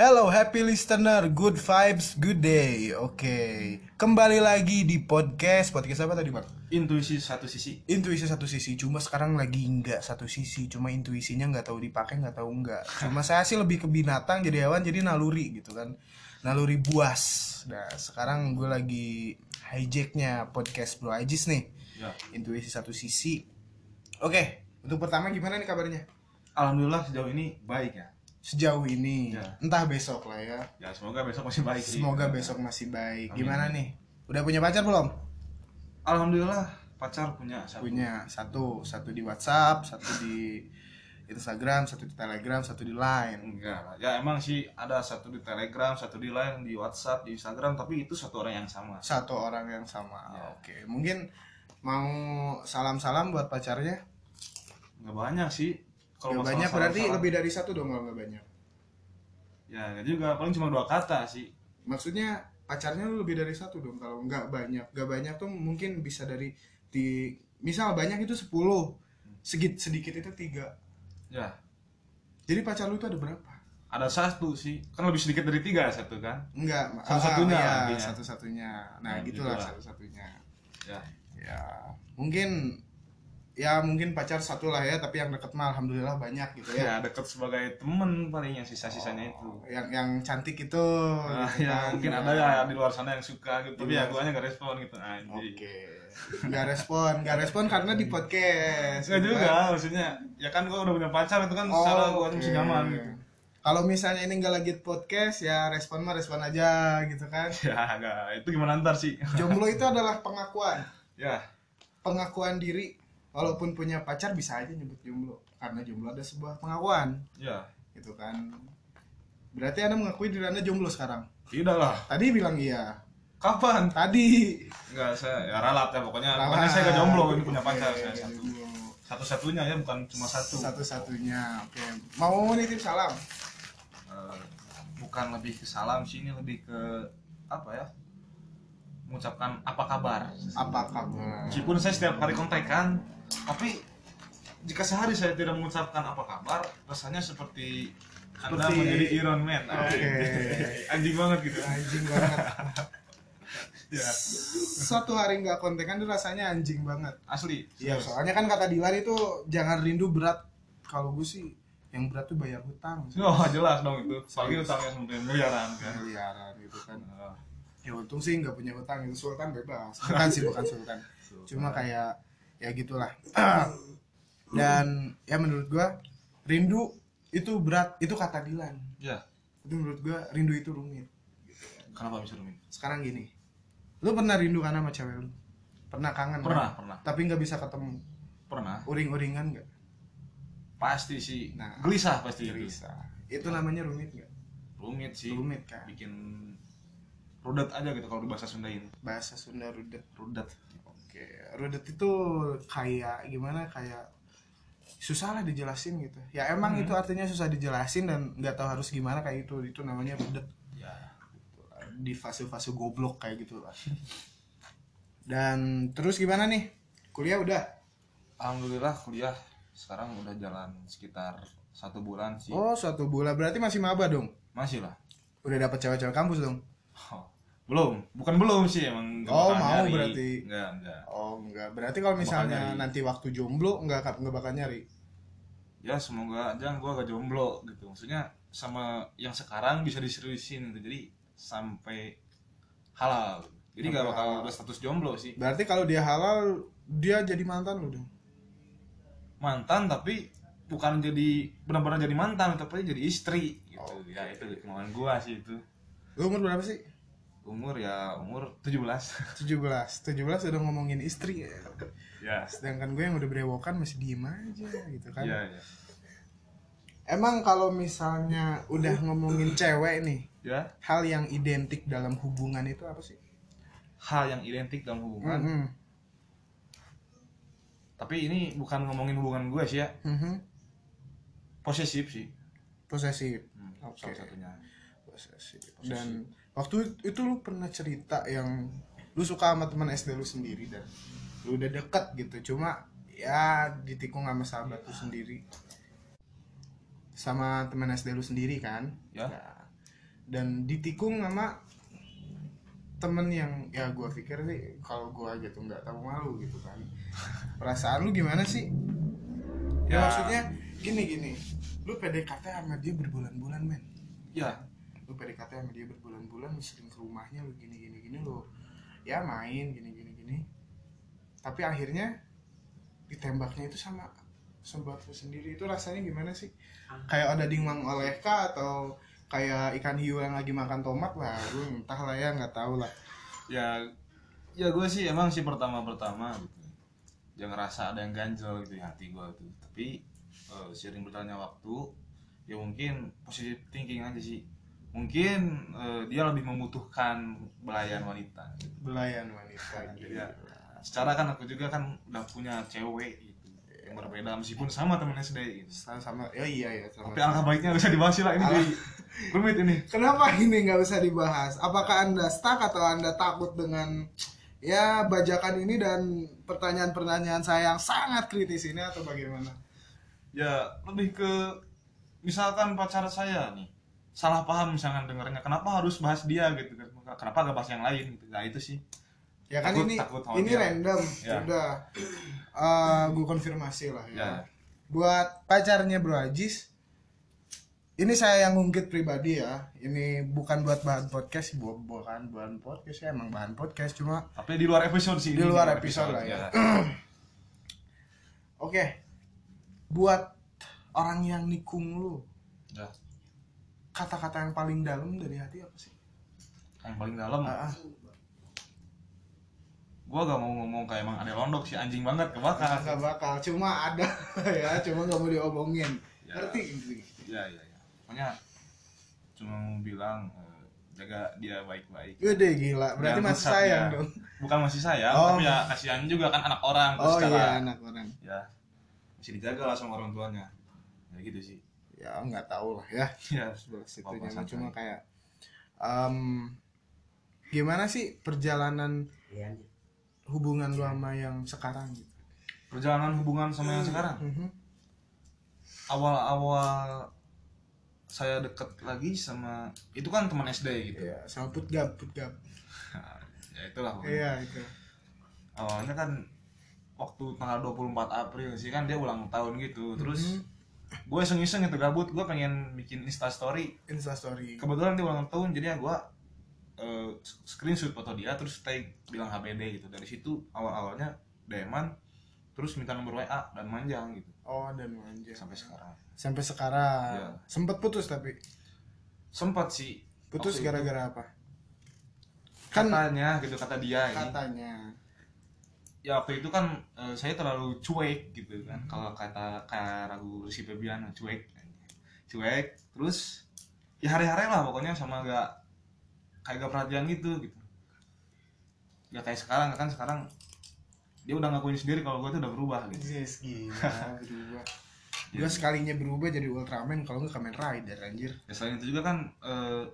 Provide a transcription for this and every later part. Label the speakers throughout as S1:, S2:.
S1: Hello happy listener, good vibes, good day. Oke, kembali lagi di podcast podcast apa tadi Pak?
S2: intuisi satu sisi
S1: Intuisi satu sisi, cuma sekarang lagi nggak satu sisi, cuma intuisinya nggak tahu dipakai nggak tahu nggak. Cuma saya sih lebih ke binatang jadi hewan jadi naluri gitu kan, naluri buas. Nah sekarang gue lagi hijacknya podcast Bro Ajis nih,
S2: ya
S1: intuisi satu sisi. Oke, untuk pertama gimana nih kabarnya?
S2: alhamdulillah sejauh ini baik ya
S1: Sejauh ini,
S2: Ya.
S1: entah besok lah ya.
S2: ya semoga besok masih baik sih.
S1: Semoga besok masih baik.
S2: Amin.
S1: Gimana nih? Udah punya pacar belum?
S2: alhamdulillah pacar punya satu
S1: Punya satu, satu di WhatsApp, satu di Instagram, satu di Telegram, satu di Line.
S2: enggak lah. ya emang sih ada satu di telegram satu di line di whatsapp di instagram tapi itu satu orang yang sama
S1: Satu orang yang sama.
S2: Ya.
S1: Oke, mungkin mau salam-salam buat pacarnya.
S2: nggak banyak sih
S1: Kalau
S2: masalah
S1: banyak berarti
S2: salah-salah,
S1: lebih dari satu dong kalau nggak banyak.
S2: ya nggak juga paling cuma dua kata sih
S1: Maksudnya pacarnya lu lebih dari satu dong kalau nggak banyak. Nggak banyak tuh mungkin bisa dari di misal banyak itu 10.
S2: Hmm.
S1: Segit sedikit itu tiga.
S2: ya
S1: Jadi pacar lu itu ada berapa?
S2: ada satu sih kan lebih sedikit dari tiga satu kan
S1: Enggak,
S2: Satu-satunya,
S1: ah, iya,
S2: artinya.
S1: satu-satunya. Nah,
S2: Nah,
S1: gitulah
S2: gitulah.
S1: satu-satunya.
S2: ya
S1: Ya, mungkin ya mungkin pacar satu lah ya, tapi yang deket mah alhamdulillah banyak gitu ya.
S2: ya deket sebagai temen paling yang sisa sisanya itu
S1: Yang yang cantik itu
S2: Ah,
S1: gitu kan.
S2: ya mungkin ada ya di luar sana yang suka gitu
S1: Di
S2: tapi ya
S1: luar
S2: gue aja nggak respon gitu anjing
S1: Oke. Enggak respon, enggak respon karena di podcast.
S2: Enggak
S1: gitu
S2: juga,
S1: kan.
S2: maksudnya ya kan gua udah punya pacar itu kan
S1: Oh,
S2: salah gua
S1: oke.
S2: kan mesti nyaman gitu.
S1: Kalau misalnya ini enggak lagi podcast ya respon mah respon aja gitu kan.
S2: Ya enggak, itu gimana ntar sih?
S1: Jomblo itu adalah pengakuan.
S2: ya,
S1: pengakuan diri walaupun punya pacar bisa aja nyebut jomblo karena jomblo ada sebuah pengakuan
S2: ya.
S1: gitu kan berarti anda mengakui diri anda jomblo sekarang
S2: Tidak lah.
S1: tadi bilang iya
S2: Kapan?
S1: tadi
S2: Enggak, saya ya ralat ya pokoknya. Pokoknya saya gak jomblo, ini punya pacar saya satu. Satu-satunya ya bukan cuma satu.
S1: satu satunya oke mau nitip salam
S2: Eh, bukan lebih ke salam sih, ini lebih ke apa ya? Mengucapkan apa kabar.
S1: apa kabar
S2: Meskipun saya setiap hari kontekan, tapi jika sehari saya tidak mengucapkan apa kabar, rasanya seperti, Anda
S1: Seperti-
S2: menjadi Iron Man.
S1: Oke.
S2: Anjing banget gitu.
S1: anjing banget
S2: Ya,
S1: suatu hari nggak kontekan tuh rasanya anjing banget
S2: asli.
S1: Iya, soalnya kan kata Dilan itu jangan rindu berat. Kalau gue sih yang berat tuh bayar hutang.
S2: Oh, jelas dong itu. Apalagi utangnya sampai miliaran kan.
S1: Miliaran gitu kan.
S2: Eh,
S1: ya untung sih nggak punya hutang itu sultan bebas bukan sih bukan sultan cuma kayak ya gitulah dan ya menurut gua rindu itu berat itu kata Dilan
S2: Ya,
S1: itu menurut gua rindu itu rumit
S2: kenapa bisa rumit?
S1: sekarang gini lu pernah rindu kan sama cewek lu pernah kangen kan?
S2: Pernah, pernah,
S1: tapi nggak bisa ketemu
S2: pernah.
S1: uring-uringan nggak
S2: Pasti sih.
S1: Nah,
S2: gelisah pasti itu.
S1: bisa itu namanya rumit nggak
S2: Rumit sih.
S1: rumit kan
S2: Bikin rudet aja gitu kalau di bahasa Sundain.
S1: bahasa Sunda rudet
S2: Rudet.
S1: oke rudet itu kayak gimana kayak susah lah dijelasin gitu ya emang
S2: Hmm.
S1: itu artinya susah dijelasin dan nggak tahu harus gimana kayak gitu itu namanya budet
S2: Ya.
S1: di fase-fase goblok kayak gitu lah dan terus gimana nih kuliah udah
S2: Alhamdulillah kuliah sekarang udah jalan sekitar satu bulan sih.
S1: oh suatu bulan berarti masih maba dong
S2: Masih lah.
S1: udah dapat cewek-cewek kampus dong
S2: Oh, Belum, bukan belum sih emang nggak
S1: Oh,
S2: bakal
S1: mau berarti.
S2: Enggak, enggak.
S1: oh enggak berarti kalau misalnya
S2: Bakal nyari.
S1: nanti waktu jomblo enggak nggak bakal nyari
S2: Ya semoga aja gua gak jomblo gitu. Maksudnya sama yang sekarang bisa diseriusin gitu. Jadi sampai halal. Jadi
S1: Sampai
S2: gak bakal
S1: halal.
S2: ada status jomblo sih.
S1: berarti kalau dia halal dia jadi mantan lu dong
S2: Mantan tapi bukan jadi benar-benar jadi mantan tapi jadi istri gitu.
S1: Oh,
S2: Ya itu kemauan gua sih itu.
S1: lu umur berapa sih
S2: Umur ya umur 17.
S1: 17 17 udah ngomongin istri
S2: ya.
S1: sedangkan gue yang udah berewokan masih diem aja gitu kan
S2: Iya, iya.
S1: emang kalau misalnya udah ngomongin cewek nih
S2: Ya.
S1: hal yang identik dalam hubungan itu apa sih
S2: hal yang identik dalam hubungan.
S1: Mm-mm.
S2: Tapi ini bukan ngomongin hubungan gue sih ya,
S1: Mhm.
S2: posesif sih.
S1: posesif
S2: Hmm,
S1: Oke.
S2: Salah satunya.
S1: posesif dan waktu itu, itu lu pernah cerita yang lu suka sama teman SD lu sendiri dan lu udah deket gitu cuma ya ditikung sama sahabat lu sendiri sama teman SD lu sendiri kan
S2: Ya.
S1: Nah, dan ditikung sama temen yang ya gua pikir sih kalau gua aja tuh nggak tahu malu gitu kan perasaan lu gimana sih ya,
S2: Ya.
S1: maksudnya gini gini lu PDKT sama dia berbulan-bulan men
S2: ya
S1: lu PDKT sama dia berbulan-bulan lu sering ke rumahnya lu gini gini gini lu ya main gini gini gini tapi akhirnya ditembaknya itu sama sobat lu sendiri itu rasanya gimana sih kayak ada dimang oleh kah atau kayak ikan hiu yang lagi makan tomat lah gue entah lah ya nggak tahu lah
S2: ya ya gue sih emang sih pertama pertama gitu ya ngerasa ada yang ganjel gitu di hati gue tuh tapi eh, sering berjalannya waktu ya mungkin positive thinking aja sih mungkin eh, dia lebih membutuhkan belayan wanita gitu.
S1: belayan wanita gitu
S2: Jadi ya, secara kan aku juga kan udah punya cewek gitu yang berbeda meskipun sama temen SD gitu
S1: sama sama ya iya ya sama
S2: tapi alangkah baiknya bisa dibahas sih lah ini
S1: Alah.
S2: jadi rumit ini
S1: Kenapa ini nggak usah dibahas? Apakah anda stuck atau anda takut dengan ya bajakan ini dan pertanyaan-pertanyaan saya yang sangat kritis ini atau bagaimana?
S2: ya lebih ke misalkan pacar saya nih salah paham misalkan dengarnya kenapa harus bahas dia gitu kan kenapa gak bahas yang lain gitu nah itu sih
S1: Ya kan
S2: Takut-
S1: ini
S2: takut sama
S1: ini
S2: dia.
S1: random,
S2: Ya.
S1: udah Eh, gue konfirmasi lah ya.
S2: ya
S1: Buat pacarnya Bro Ajis, ini saya yang ngungkit pribadi ya. Ini bukan buat bahan podcast, bu- bukan bahan podcast ya emang bahan podcast cuma
S2: tapi di luar episode sih Iya.
S1: Di luar episode lah ya. oke buat orang yang nikung lu
S2: ya.
S1: kata-kata yang paling dalam dari hati apa sih?
S2: yang paling dalam
S1: Ah, ah.
S2: gua gak mau ngomong kayak emang ada londok sih anjing banget kebakar
S1: ah, Nggak bakal, cuma ada ya, cuma nggak mau diomongin.
S2: Ya.
S1: Ngerti ngerti.
S2: ya ya ya pokoknya cuma mau bilang eh, jaga dia baik-baik
S1: Gede Iya gila, berarti
S2: Jangan
S1: masih
S2: rusak
S1: sayang
S2: dia.
S1: dong.
S2: bukan masih sayang
S1: Oh.
S2: tapi ya kasihan juga kan anak orang terus
S1: Oh
S2: secara
S1: iya anak orang.
S2: ya masih dijaga lah sama orang tuanya ya gitu sih
S1: Ya nggak tahu lah ya.
S2: ya
S1: Sebelah situ
S2: Apa-apa
S1: nyaman.
S2: santai.
S1: cuma kayak em, gimana sih perjalanan hubungan lu sama yang sekarang gitu?
S2: perjalanan hubungan sama yang sekarang
S1: Mhm.
S2: awal-awal saya deket lagi sama itu kan teman SD gitu
S1: Iya, sama putgap putgap.
S2: ya itulah pokoknya.
S1: Iya itu.
S2: awalnya kan waktu tanggal 24 April sih kan dia ulang tahun gitu terus gue iseng-iseng gitu gabut gue pengen bikin instastory
S1: Insta story.
S2: kebetulan dia ulang tahun jadi ya gue eh, screenshot foto dia terus tag bilang HBD gitu dari situ awal-awalnya deman terus minta nomor WA dan manjang gitu
S1: Oh dan manja.
S2: sampai sekarang
S1: Sampai sekarang.
S2: Iya.
S1: Sempet putus tapi.
S2: sempat sih
S1: Putus
S2: Waktu itu.
S1: gara-gara apa? Kan
S2: katanya gitu kata dia ini
S1: katanya.
S2: ya waktu itu kan eh, saya terlalu cuek gitu kan kalau kata kayak ragu si Febian cuek cuek terus ya hari-hari lah pokoknya sama gak kayak gak perhatian gitu gitu gak kayak sekarang kan sekarang dia udah ngakuin sendiri kalau gue tuh udah berubah gitu
S1: Yes, gila, berubah. Gua sekalinya berubah jadi Ultraman kalau nggak Kamen Rider anjir.
S2: ya selain itu juga kan eh,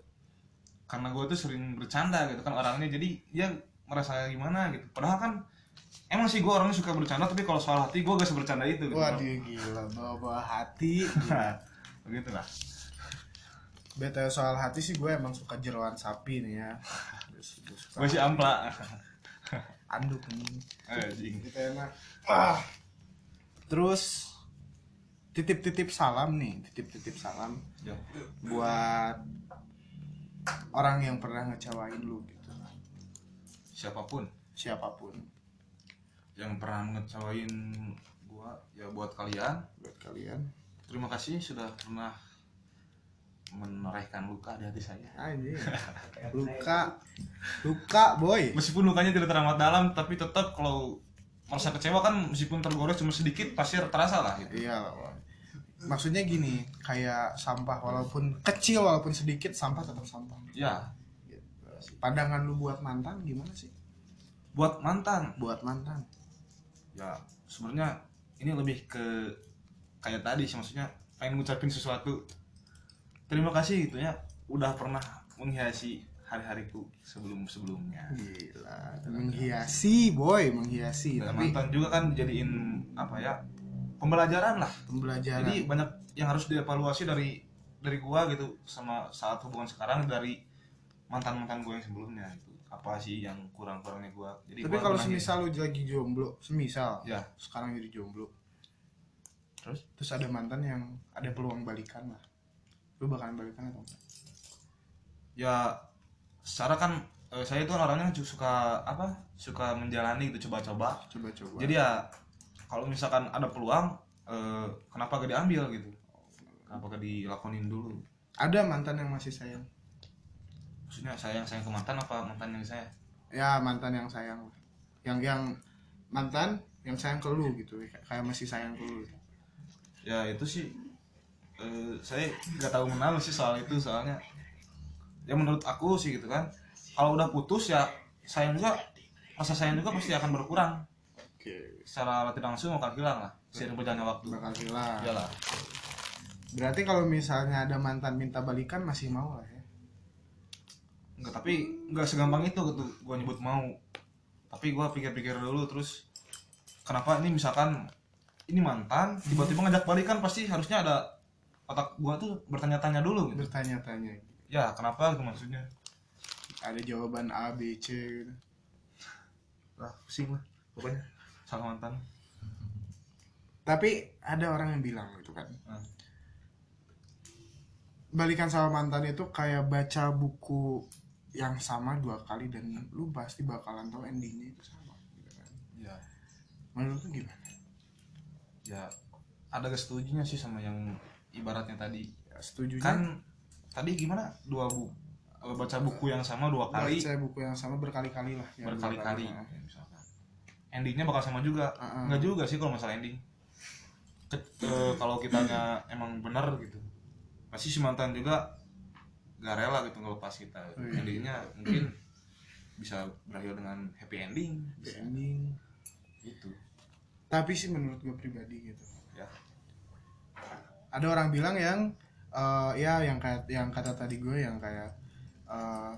S2: karena gue tuh sering bercanda gitu kan orangnya jadi dia merasa gimana gitu padahal kan emang sih gue orangnya suka bercanda tapi kalau soal hati gue gak sebercanda itu gitu
S1: Waduh gila, bawa-bawa hati.
S2: begitu lah
S1: Btw soal hati sih gue emang suka jeroan sapi nih ya. Terus gua suka
S2: gue sih ampla
S1: anduk nih.
S2: anjing
S1: Gitu enak. Ah. Terus titip-titip salam nih, titip-titip salam
S2: ya.
S1: buat orang yang pernah ngecewain lu gitu.
S2: siapapun
S1: Siapapun
S2: yang pernah ngecewain gue ya buat kalian
S1: buat kalian.
S2: terima kasih sudah pernah menorehkan luka di hati saya
S1: Anjir. Luka luka boy.
S2: meskipun lukanya tidak teramat dalam tapi tetap kalau merasa kecewa kan meskipun tergores cuma sedikit pasti terasa lah gitu
S1: Iya lah. Wak. Maksudnya gini, kayak sampah walaupun kecil walaupun sedikit sampah tetap sampah.
S2: ya
S1: Pandangan lu buat mantan gimana sih?
S2: buat mantan
S1: Buat mantan.
S2: ya sebenarnya ini lebih ke kayak tadi sih maksudnya pengen ngucapin sesuatu terima kasih gitu ya udah pernah menghiasi hari-hariku sebelum sebelumnya
S1: Gila, menghiasi boy, menghiasi. Iya, Tapi
S2: Dan mantan juga kan jadiin apa ya pembelajaran lah
S1: pembelajaran.
S2: jadi banyak yang harus dievaluasi dari dari gua gitu sama saat hubungan sekarang dari mantan mantan gua yang sebelumnya itu apa sih yang kurang kurangnya gua jadi
S1: Tapi
S2: gua
S1: kalau
S2: benahi.
S1: semisal lu lagi jomblo, semisal
S2: ya
S1: sekarang jadi jomblo,
S2: terus
S1: terus ada mantan yang ada peluang balikan lah. Lu bakalan balikan atau enggak?
S2: ya secara kan eh, saya itu orangnya juga suka apa suka menjalani gitu coba-coba
S1: Coba coba.
S2: jadi ya kalau misalkan ada peluang eh, kenapa gak diambil gitu kenapa gak dilakonin dulu
S1: ada mantan yang masih sayang.
S2: maksudnya sayang sayang ke mantan apa mantan yang saya
S1: Ya mantan yang sayang lah. Yang yang mantan yang sayang ke lu gitu, kayak- kayak masih sayang ke lu.
S2: ya itu sih eh, saya nggak tahu menang sih soal itu soalnya ya menurut aku sih gitu kan kalau udah putus ya sayang juga rasa sayang juga pasti akan berkurang
S1: Oke.
S2: secara tidak langsung akan hilang lah seiring berjalannya waktu Iya
S1: Bakal hilang.
S2: iyalah
S1: Berarti kalau misalnya ada mantan minta balikan masih mau lah ya.
S2: Enggak, tapi enggak segampang itu gitu gua nyebut mau. Tapi gua pikir-pikir dulu terus kenapa ini misalkan ini mantan tiba-tiba ngajak balikan pasti harusnya ada otak gua tuh bertanya-tanya dulu gitu.
S1: Bertanya-tanya. gitu.
S2: Ya, kenapa gitu maksudnya?
S1: Ada jawaban A, B, C gitu.
S2: Lah, pusing lah pokoknya sama mantan.
S1: Tapi ada orang yang bilang gitu kan.
S2: Nah,
S1: balikan sama mantan itu kayak baca buku yang sama dua kali dan lu pasti bakalan tahu endingnya itu sama gitu kan.
S2: ya,
S1: Menurut lu gimana?
S2: ya ada kesetujuannya sih sama yang ibaratnya tadi.
S1: Ya, setuju
S2: Kan tadi gimana? Dua bu eh, baca buku yang sama dua kali
S1: baca buku yang sama berkali-kali lah. ya, Hmm.
S2: berkali-kali
S1: dua kali.
S2: ya, misalkan endingnya bakal sama juga
S1: Heeh.
S2: nggak juga sih kalau masalah ending Ke- eh, kalau kitanya emang benar gitu pasti si mantan juga gak rela gitu ngelepas kita
S1: Iya.
S2: endingnya mungkin bisa berakhir dengan happy ending bisa
S1: Ending.
S2: gitu
S1: Tapi sih menurut gue pribadi gitu.
S2: ya
S1: Ada orang bilang yang eh, ya yang kayak yang kata tadi gue yang kayak eh,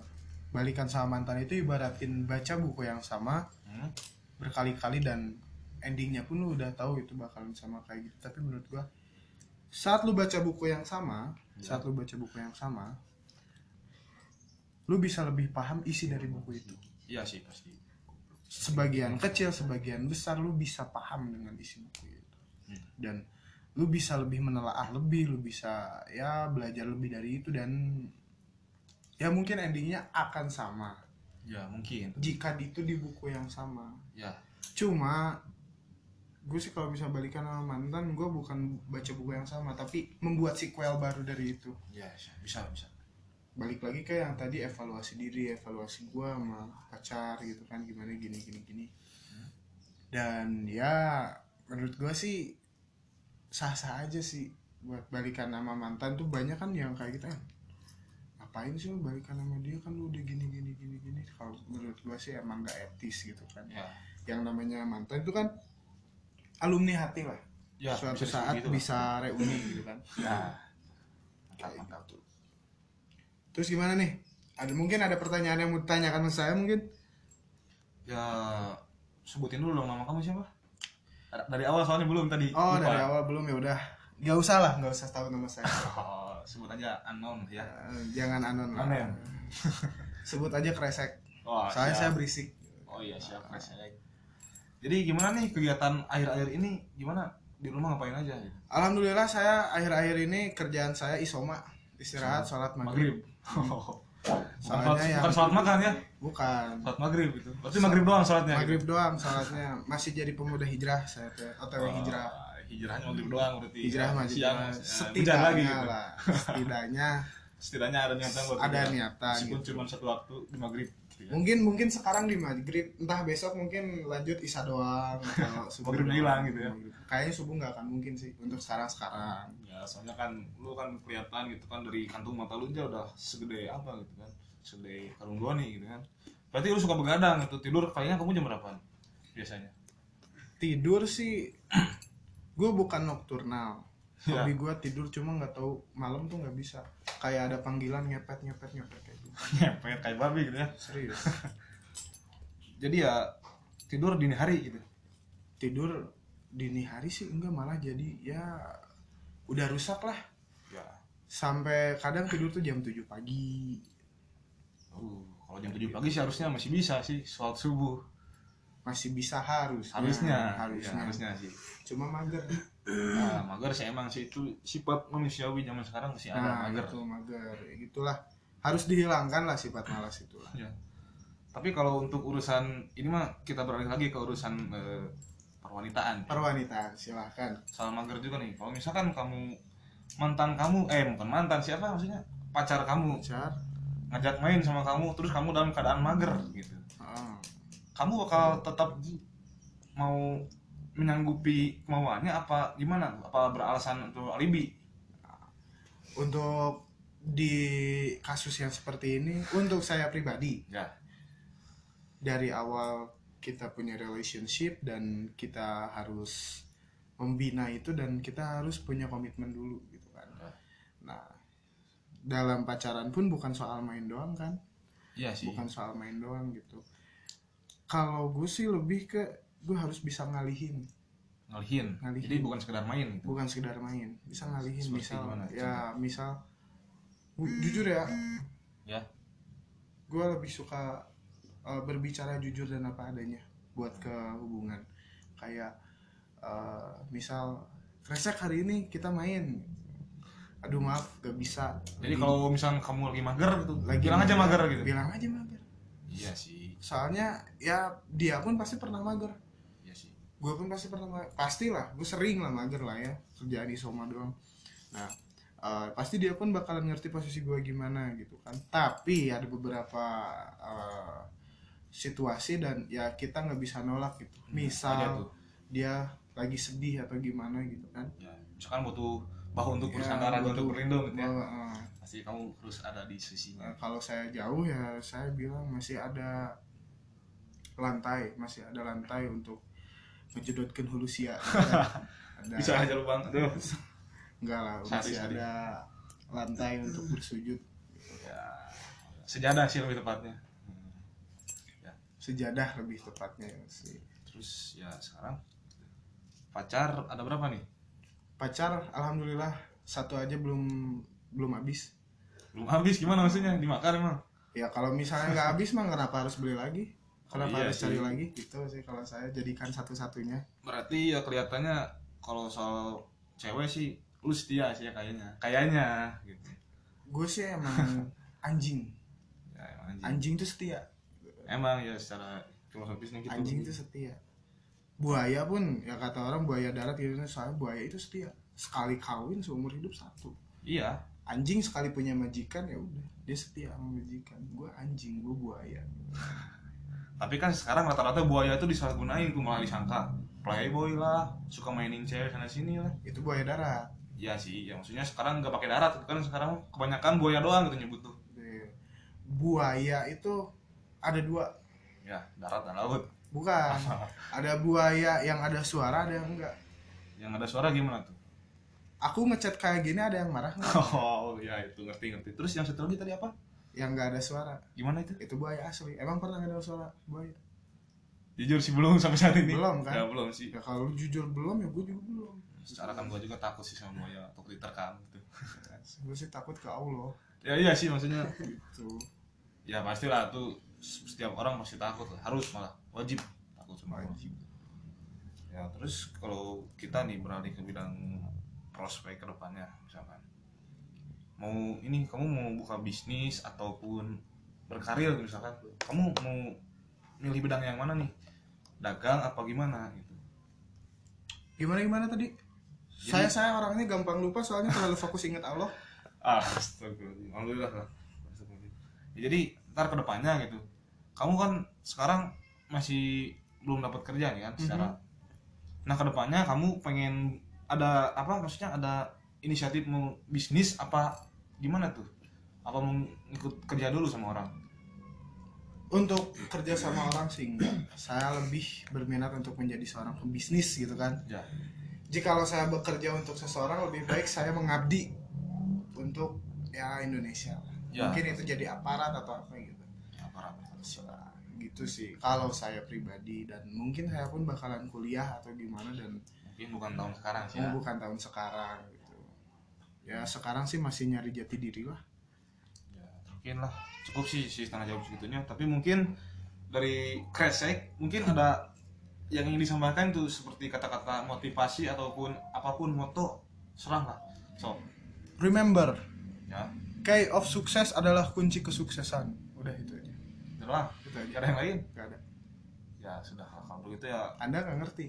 S1: balikan sama mantan itu ibaratin baca buku yang sama
S2: Hmm?
S1: berkali-kali dan endingnya pun lu udah tahu itu bakalan sama kayak gitu tapi menurut gua saat lu baca buku yang sama
S2: Ya.
S1: saat lu baca buku yang sama lu bisa lebih paham isi dari buku itu
S2: iya sih pasti
S1: sebagian kecil sebagian besar lu bisa paham dengan isi buku itu
S2: Hmm.
S1: dan lu bisa lebih menelaah lebih lu bisa ya belajar lebih dari itu dan ya mungkin endingnya akan sama
S2: ya mungkin
S1: jika itu di buku yang sama
S2: ya
S1: cuma gue sih kalau bisa balikan sama mantan gue bukan baca buku yang sama tapi membuat sequel baru dari itu
S2: ya bisa bisa bisa
S1: balik lagi ke yang tadi evaluasi diri evaluasi gue sama pacar gitu kan gimana gini gini gini dan ya menurut gue sih sah sah aja sih buat balikan sama mantan tuh banyak kan yang kayak gitu kan ngapain sih lu balikan sama dia kan lu udah gini gini gini gini kalau menurut gue sih emang gak etis gitu kan
S2: ya
S1: yang namanya mantan itu kan alumni hati lah
S2: ya
S1: suatu
S2: disebut
S1: saat
S2: gitu lah.
S1: bisa reuni gitu kan
S2: nah mantap
S1: Kayak
S2: mantap
S1: gitu. terus gimana nih ada mungkin ada pertanyaan yang mau ditanyakan ke saya mungkin
S2: ya sebutin dulu dong nama kamu siapa dari awal soalnya belum tadi
S1: oh
S2: Lupa.
S1: dari awal belum ya udah nggak usah lah nggak usah tahu nama saya
S2: Oh, sebut aja unknown ya.
S1: Eh, jangan anon lah
S2: Anon.
S1: sebut aja kresek
S2: ya? Oh,
S1: soalnya saya
S2: siap.
S1: berisik
S2: Oh iya, siap Mas Elek. Jadi gimana nih kegiatan akhir-akhir ini? Gimana di rumah ngapain aja?
S1: alhamdulillah saya akhir-akhir ini kerjaan saya isoma istirahat sholat maghrib Hmm.
S2: Maghrib. Oh. Bukan
S1: Soalnya
S2: sholat,
S1: yang-
S2: bukan sholat makan ya?
S1: bukan
S2: Sholat maghrib gitu. Berarti maghrib doang gitu. sholatnya.
S1: maghrib doang sholatnya masih jadi pemuda hijrah saya teh otw
S2: Oh,
S1: hijrah
S2: hijrahnya maghrib doang berarti. ya.
S1: hijrah mah
S2: Siang,
S1: hijrah.
S2: eh, hujan
S1: setidaknya
S2: lagi gitu.
S1: lah setidaknya
S2: Setidaknya ada niatan buat
S1: ada
S2: hijrah.
S1: niatan
S2: Meskipun
S1: gitu.
S2: cuma satu waktu di maghrib. gitu ya.
S1: mungkin mungkin sekarang di maghrib entah besok mungkin lanjut isya doang atau subuh
S2: Maghrib
S1: doang.
S2: hilang gitu ya.
S1: Maghrib. kayaknya subuh nggak akan mungkin sih untuk sekarang sekarang
S2: Ya, soalnya kan lu kan kelihatan gitu kan dari kantung mata lu aja udah segede apa gitu kan. Segede karung goni gitu kan. Berarti lu suka begadang gitu. Tidur kayaknya kamu jam berapa biasanya?
S1: tidur sih gue bukan nokturnal
S2: Ya.
S1: hobi gue tidur cuma nggak tahu malam tuh nggak bisa kayak ada panggilan ngepet ngepet ngepet kayak gitu
S2: Nyepet kayak babi gitu ya.
S1: serius
S2: Jadi ya tidur dini hari gitu.
S1: tidur dini hari sih enggak malah jadi ya udah rusak lah
S2: Ya.
S1: sampai kadang tidur tuh jam 7 pagi
S2: Uh, kalau jam 7 pagi sih harusnya masih bisa sih sholat subuh.
S1: masih bisa harus
S2: Harusnya,
S1: Nah, harusnya,
S2: Ya, harusnya sih.
S1: cuma mager
S2: Nah, mager sih emang sih itu sifat manusiawi zaman sekarang masih ada
S1: nah
S2: Ya, mager.
S1: itu mager Ya, gitulah harus dihilangkan lah sifat malas itulah
S2: Ya. Tapi kalau untuk urusan ini mah kita beralih lagi ke urusan eh, perwanitaan.
S1: perwanita silahkan
S2: Soal mager juga nih. Kalau misalkan kamu mantan kamu eh bukan mantan siapa maksudnya pacar kamu
S1: pacar
S2: ngajak main sama kamu terus kamu dalam keadaan mager gitu.
S1: Ah.
S2: Kamu bakal tetap mau menyanggupi kemauannya apa gimana? Apa beralasan untuk alibi?
S1: untuk di kasus yang seperti ini untuk saya pribadi
S2: Ya.
S1: dari awal kita punya relationship dan kita harus membina itu dan kita harus punya komitmen dulu gitu kan
S2: Ya.
S1: nah dalam pacaran pun bukan soal main doang kan
S2: Iya sih.
S1: bukan soal main doang gitu kalau gue sih lebih ke gue harus bisa ngalihin
S2: ngalihin.
S1: Ngalihin.
S2: Jadi bukan sekedar main gitu.
S1: bukan sekedar main bisa ngalihin
S2: Iya, Seperti
S1: misal
S2: gimana?
S1: ya misal Gu- jujur ya
S2: Ya.
S1: gue lebih suka uh, berbicara jujur dan apa adanya buat ke hubungan kayak uh, misal kresek hari ini kita main aduh maaf gak bisa
S2: Jadi kalau misalkan kamu lagi mager gitu,
S1: Lagi
S2: bilang aja mager gitu.
S1: bilang aja mager
S2: Iya sih.
S1: soalnya ya dia pun pasti pernah mager
S2: Iya sih.
S1: gue pun pasti pernah ma- pastilah gue sering lah mager lah ya kerjaan isoma doang nah eh, pasti dia pun bakalan ngerti posisi gue gimana gitu kan tapi ada beberapa eh, situasi dan ya kita nggak bisa nolak gitu
S2: Hmm, Ada
S1: misal
S2: tuh.
S1: dia lagi sedih atau gimana gitu kan
S2: Ya, misalkan butuh bahu untuk
S1: Ya,
S2: bersandar
S1: butuh-
S2: untuk berlindung gitu ya.
S1: Bahwa, eh,
S2: Pasti kamu harus ada di sisinya.
S1: eh, kalau saya jauh ya saya bilang masih ada lantai masih ada lantai untuk menjedotkan hulu sia Ada-
S2: Bisa aja lubang. Aduh.
S1: Enggak lah,
S2: Sehari,
S1: masih
S2: sehari.
S1: ada lantai untuk bersujud
S2: Ya. Sejadah sih lebih tepatnya.
S1: sejadah lebih tepatnya ya sih.
S2: Terus ya sekarang pacar ada berapa nih?
S1: Pacar alhamdulillah satu aja belum belum habis.
S2: Belum habis gimana maksudnya? Dimakan emang.
S1: Ya kalau misalnya nggak habis mah kenapa harus beli lagi? Kenapa
S2: iya
S1: harus cari
S2: sih.
S1: lagi? Gitu sih kalau saya jadikan satu-satunya.
S2: Berarti ya kelihatannya kalau soal cewek sih lu setia sih ya kayaknya. Kayaknya gitu.
S1: Gue sih emang anjing.
S2: Ya, emang anjing.
S1: Anjing tuh setia.
S2: Emang ya secara filosofisnya gitu.
S1: Anjing tuh setia. Buaya pun ya kata orang buaya darat gitu soalnya buaya itu setia. Sekali kawin seumur hidup satu.
S2: Iya.
S1: anjing sekali punya majikan ya udah dia setia sama majikan gue anjing gue buaya
S2: Tapi kan sekarang rata-rata buaya itu disalahgunain tuh malah disangka playboy lah, suka mainin cewek sana sini lah.
S1: itu buaya darat
S2: Iya sih, ya maksudnya sekarang nggak pakai darat kan sekarang kebanyakan buaya doang gitu nyebut tuh.
S1: Be- ya. buaya itu ada dua
S2: Ya, darat dan laut.
S1: bukan ada buaya yang ada suara ada yang enggak
S2: Yang ada suara gimana tuh?
S1: aku ngechat kayak gini ada yang marah nggak
S2: Oh, ya itu ngerti ngerti. Terus yang satu lagi tadi apa?
S1: yang nggak ada suara
S2: Gimana itu?
S1: itu buaya asli emang pernah nggak ada suara buaya
S2: Jujur sih belum sampai saat ini.
S1: Belum, kan?
S2: Ya belum sih.
S1: ya kalau lu jujur belum ya gue juga belum
S2: Secara kan gua juga takut sih sama buaya atau diterkam gitu.
S1: gue sih takut ke allah
S2: Ya iya sih maksudnya
S1: gitu
S2: ya pastilah tuh setiap orang pasti takut lah harus malah wajib takut sama Allah.
S1: Wajib.
S2: ya terus kalau kita nih beralih ke bidang prospek ke depannya misalkan mau ini kamu mau buka bisnis ataupun berkarir gitu misalkan kamu mau milih bidang yang mana nih dagang apa gimana gitu
S1: gimana gimana tadi saya saya orangnya gampang lupa soalnya terlalu fokus ingat allah
S2: ah astagfirullahaladzim alhamdulillah lah Astagfirullahaladzim. ya, jadi ntar kedepannya gitu kamu kan sekarang masih belum dapat kerja nih kan secara nah kedepannya kamu pengen ada apa maksudnya ada inisiatif mau bisnis apa gimana tuh apa mau ikut kerja dulu sama orang
S1: untuk kerja sama orang sih enggak. saya lebih berminat untuk menjadi seorang pembisnis gitu kan
S2: ya
S1: jikalau saya bekerja untuk seseorang lebih baik saya mengabdi untuk ya Indonesia
S2: Ya.
S1: mungkin itu jadi aparat atau apa gitu
S2: apa apa
S1: Terserah. gitu sih kalau saya pribadi dan mungkin saya pun bakalan kuliah atau gimana dan
S2: mungkin bukan tahun sekarang sih
S1: oh,
S2: ya.
S1: bukan tahun sekarang gitu ya sekarang sih masih nyari jati diri lah
S2: ya, mungkin lah cukup sih sih tanggal jawab segitunya tapi mungkin dari kresek mungkin ada yang ingin disampaikan tuh seperti kata-kata motivasi ataupun apapun moto serang lah so
S1: remember
S2: ya
S1: key of sukses adalah kunci kesuksesan udah itu aja
S2: terang
S1: itu
S2: Gak
S1: aja
S2: ada yang lain
S1: Gak ada
S2: ya sudah lah, kalau begitu ya
S1: anda nggak ngerti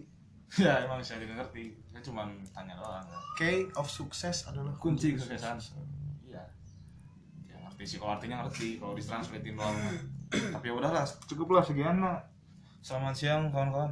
S2: ya emang saya tidak ngerti saya cuma tanya doang ya.
S1: key of sukses adalah
S2: kunci kesuksesan iya ya ngerti sih kalau artinya ngerti kalau ditranslatein doang tapi ya udahlah cukup lah sekian lah selamat siang kawan-kawan